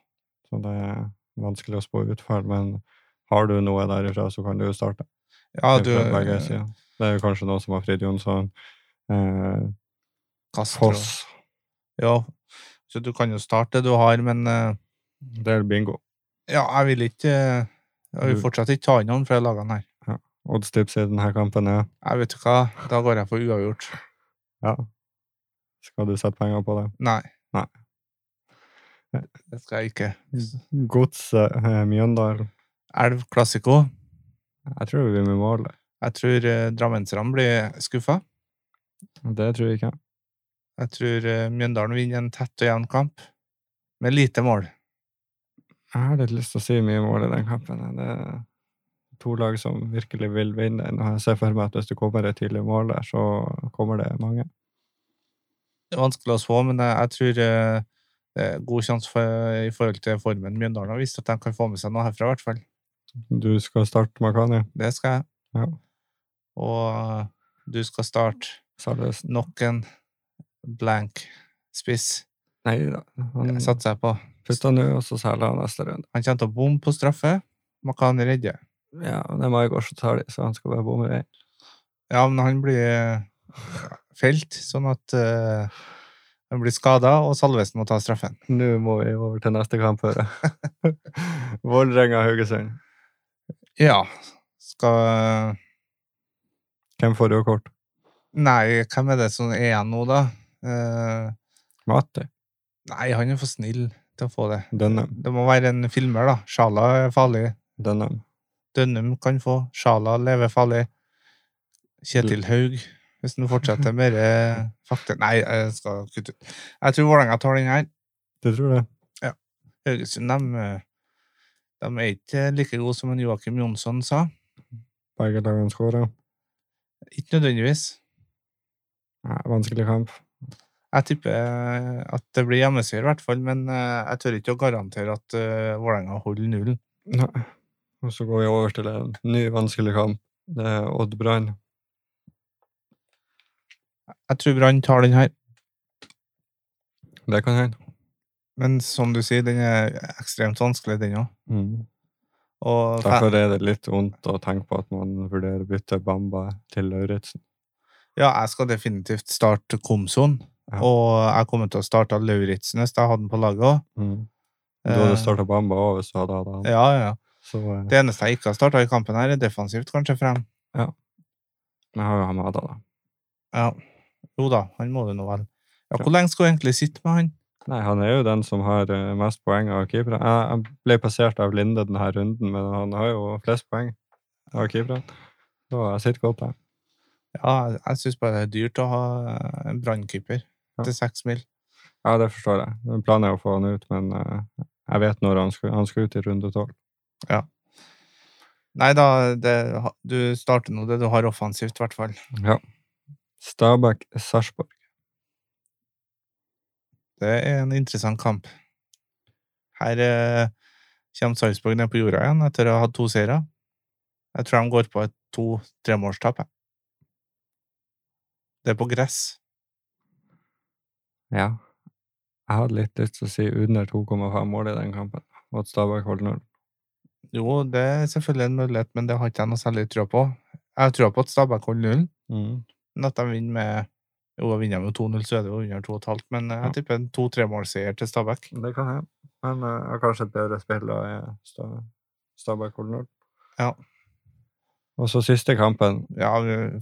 så det er vanskelig å spå utfall. Men har du noe derifra, så kan du jo starte. Ja, Det er fra begge du sider. Det er jo kanskje noen som har Frid Jonsson, eh, Castro. Foss Ja, så du kan jo starte det du har, men eh, Det er bingo. ja, jeg vil ikke eh, Jeg vil Du- fortsatt ikke ta inn noen fra lagene her. Oddstips i denne kampen er Jeg vet du hva, da går jeg for uavgjort. ja. Skal du sette penger på det? Nei. Nei. Det skal jeg ikke. Godset eh, Mjøndalen. Elv Classico. Jeg tror vi må måle. Jeg tror eh, drammenserne blir skuffa. Det tror jeg ikke. Jeg tror eh, Mjøndalen vinner en tett og jevn kamp med lite mål. Jeg har litt lyst til å si mye mål i den kampen. eh. Det er to lag som virkelig vil vinne. Nå har jeg ser for meg at hvis det kommer et tidlig mål der, så kommer det mange. Det er vanskelig å spå, men jeg, jeg tror eh, det er god sjanse for, i forhold til formen Mjøndalen har vist, at de kan få med seg noe herfra, i hvert fall. Du skal starte Makani. Det skal jeg. Ja. Og du skal starte Salvesen. nok en blank spiss. Nei da. Han Det satser jeg på. putter nå, og så selger han neste runde. Han kommer til å bomme på straffe. Makani redder. Ja, og det er Maigård som tar de, så han skal bare bomme vei. Ja, men han blir felt, sånn at eh, han blir skada, og Salvesen må ta straffen. Nå må vi over til neste kamp, hører jeg. Vålerenga-Haugesund. Ja. Skal Hvem får rødt kort? Nei, hvem er det som er igjen nå, da? Eh, Mati. nei, han er for snill til å få det. Dønnum. Det må være en filmer, da. Sjala er farlig. Dønnum. Dønnum kan få. Sjala lever farlig. Kjetil Haug, hvis han fortsetter med eh, fakta Nei, jeg skal kutte ut. Jeg tror Vålerenga tar den her. Du tror det? Haugesund de, eh, de er ikke like gode som en Joakim Jonsson sa. Begge lagene skårer. Ikke nødvendigvis. Nei, Vanskelig kamp. Jeg tipper eh, at det blir hjemmeseier, i hvert fall, men eh, jeg tør ikke å garantere at eh, Vålerenga holder nullen. Nei. Og så går vi over til en ny vanskelig kamp. Det er Odd Brann. Jeg tror Brann tar den her, Det kan hende. men som du sier, den er ekstremt vanskelig, den òg. Og fa- Mm. Derfor er det litt vondt å tenke på at man vurderer å bytte Bamba til Lauritzen. ja, jeg skal definitivt starte Komson, Ja. og jeg kommer til å starte Lauritzen hvis jeg hadde den på laget òg. Mm. Du hadde starta Bamba òg hvis du hadde hatt han. Ja, ja. Så eh, Det eneste jeg ikke har starta i kampen her, er defensivt, kanskje, frem. jeg har jo Hamada, da. Ja. Jo da, han må det nå vel. Ja, Ja. hvor lenge skal hun egentlig sitte med han? Nei, han er jo den som har eh, mest poeng av keepere. Jeg jeg ble passert av Linde denne runden, men han har jo flest poeng av keepere. Så jeg sitter godt der. Ja, jeg, jeg syns bare det er dyrt å ha eh, en brannkeeper Ja. til seks mil. Ja, det forstår jeg. Men Planen er å få han ut, men eh, jeg vet når han skal, han skal ut i runde tolv. Nei da, det, ha- du starter nå det du har offensivt, i hvert fall. Ja. Stabæk Sarpsborg. Det er en interessant kamp. Her eh, kommer Sarpsborg ned på jorda igjen etter å ha hatt to seire. Jeg tror de går på et to-tremålstap. jeg. Det er på gress. Ja. Jeg hadde litt lyst til å si under 2,5 mål i den kampen, og at Stabæk holder null. Jo, det er selvfølgelig en mulighet, men det har ikke jeg noe særlig trua på. Jeg har trua på at Stabæk holder nullen, Mm. men at de vinner med Jo, da vinner de jo 2-0, så er det jo under 2,5, men eh, Ja. jeg tipper en to-tremålseier til Stabæk. Det kan jeg. Men eh, jeg har kanskje et bedre spill da er Sta- Stabæk holder null. Ja. Og så siste kampen. Ja,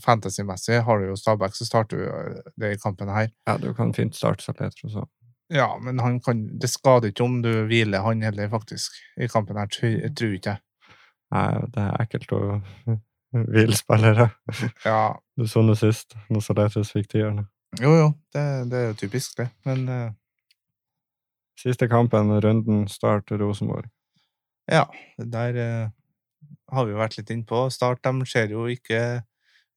Fantasymessig har du jo Stabæk, så starter du eh, det i kampen her. Ja, du kan fint starte Saletro, så. Ja, men han kan, det skader ikke om du hviler han heller, faktisk, i kampen her, tror jeg tror ikke jeg. Nei, det er ekkelt å hvile spillere. Ja, Du så det sist, når Saletros fikk tierne. jo, jo, det, det er jo typisk, det. Men eh, Siste kampen, runden, start Rosenborg. ja, det der eh, har vi jo vært litt innpå. Start de ser jo ikke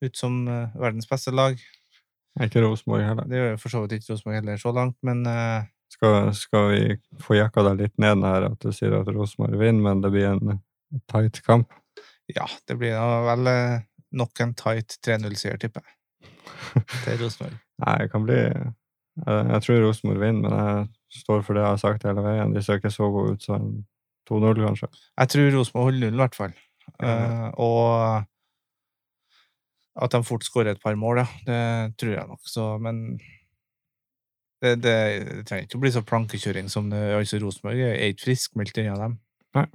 ut som eh, verdens beste lag. Ikke Rosenborg heller. Det gjør jo for så vidt ikke Rosenborg heller så langt, men eh, skal, skal vi få jakka deg litt ned den her, at du sier at Rosenborg vinner, men det blir en tight kamp. ja, det blir da vel eh, nok en tight 3-0-seier, tipper jeg. Til Rosenborg. Nei, det kan bli Jeg, jeg tror Rosenborg vinner, men jeg står for det jeg har sagt hele veien. De ser ikke så gode ut, så en 2-0, kanskje. Jeg tror Rosenborg holder nullen, i hvert fall. Ja. Eh, og at de fort skårer et par mål, ja. Det tror jeg nok. Så, men det, det, det trenger ikke å bli så plankekjøring som det altså Rosenborg er er ikke friskmeldt unna dem. Nei.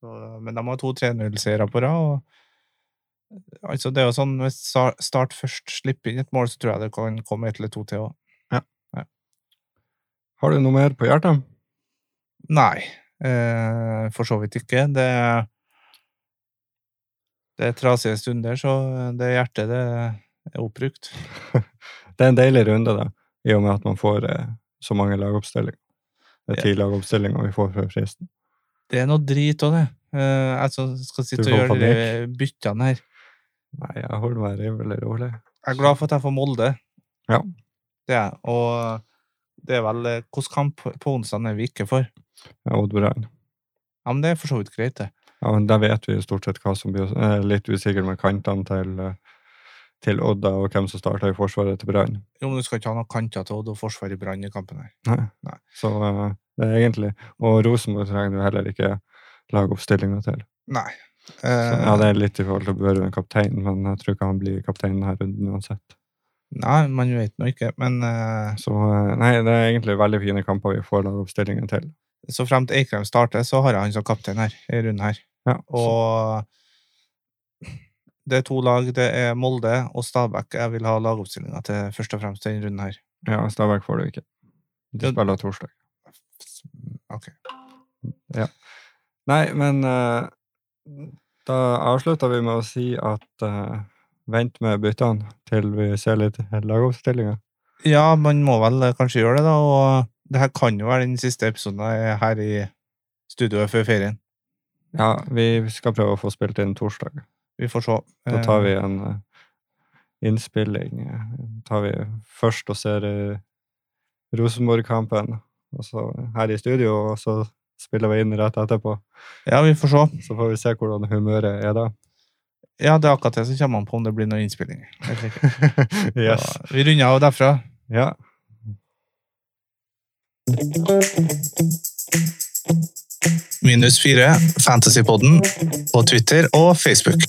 Så, men de har to 3-0-seire på rad. og Altså, det er jo sånn, Hvis Sa- Start først slipper inn et mål, så tror jeg det kan komme ett eller to til òg. Har du noe mer på hjertet? Nei, eh, for så vidt ikke. Det, det er trasige stunder, så det hjertet det er oppbrukt. Det er en deilig runde, da, i og med at man får eh, så mange lagoppstillinger. Det Ja. er ti lagoppstillinger vi får før fristen. Det er noe drit òg, det. Eh, jeg som skal sitte Du og får gjøre de der byttene her. Nei, jeg holder meg rimelig rolig. Jeg er glad for at jeg får Molde. Ja. Det er jeg. Og det er vel eh, Hvilken kamp på onsdag er vi ikke for? Ja, Odd-Brann. Ja, men det er for så vidt greit, det. Ja, men da vet vi jo stort sett hva som blir eh, litt usikkert med kantene til, eh, til Odda, og hvem som starter i forsvaret til Brann. Jo, men du skal ikke ha noen kanter til Odd og forsvar i brann i kampen her. Så eh, det er egentlig Og Rosenborg trenger du heller ikke lagoppstillinga til. Nei. Så, Eh, ja, det er litt i forhold til Børven kaptein, men jeg tror ikke han blir kaptein denne runden uansett. Nei, man vet nå ikke, men eh, Så eh, nei, det er egentlig veldig fine kamper vi får lagoppstillingen til. så fremt Eikrem starter, så har jeg han som kaptein her, i runden her. Ja, så, Og det er to lag, det er Molde og Stabæk jeg vil ha lagoppstillinga til, først og fremst, i denne runden her. ja, Stabæk får du ikke. Ja. De spiller torsdag. Ok. Nei, men eh, da avslutter vi med å si at eh, vent med byttene til vi ser litt lagoppstillinga. Ja, man må vel eh, kanskje gjøre det, da. Og det her kan jo være den siste episoden jeg er her i studioet før ferien. Ja, vi skal prøve å få spilt inn torsdag. Vi får se. Da tar vi en eh, innspilling. eh, tar vi først og ser eh, Rosenborg-kampen, og så her i studio, og så spiller vi inn rett etterpå. Eh, Ja, vi får se. Så får vi se hvordan humøret er da. Ja, det er akkurat det som kommer an på om det blir noen innspillinger. Helt sikkert. yes. Så Vi runder av derfra. Ja. Minus fire, Fantasypodden, på Twitter og Facebook.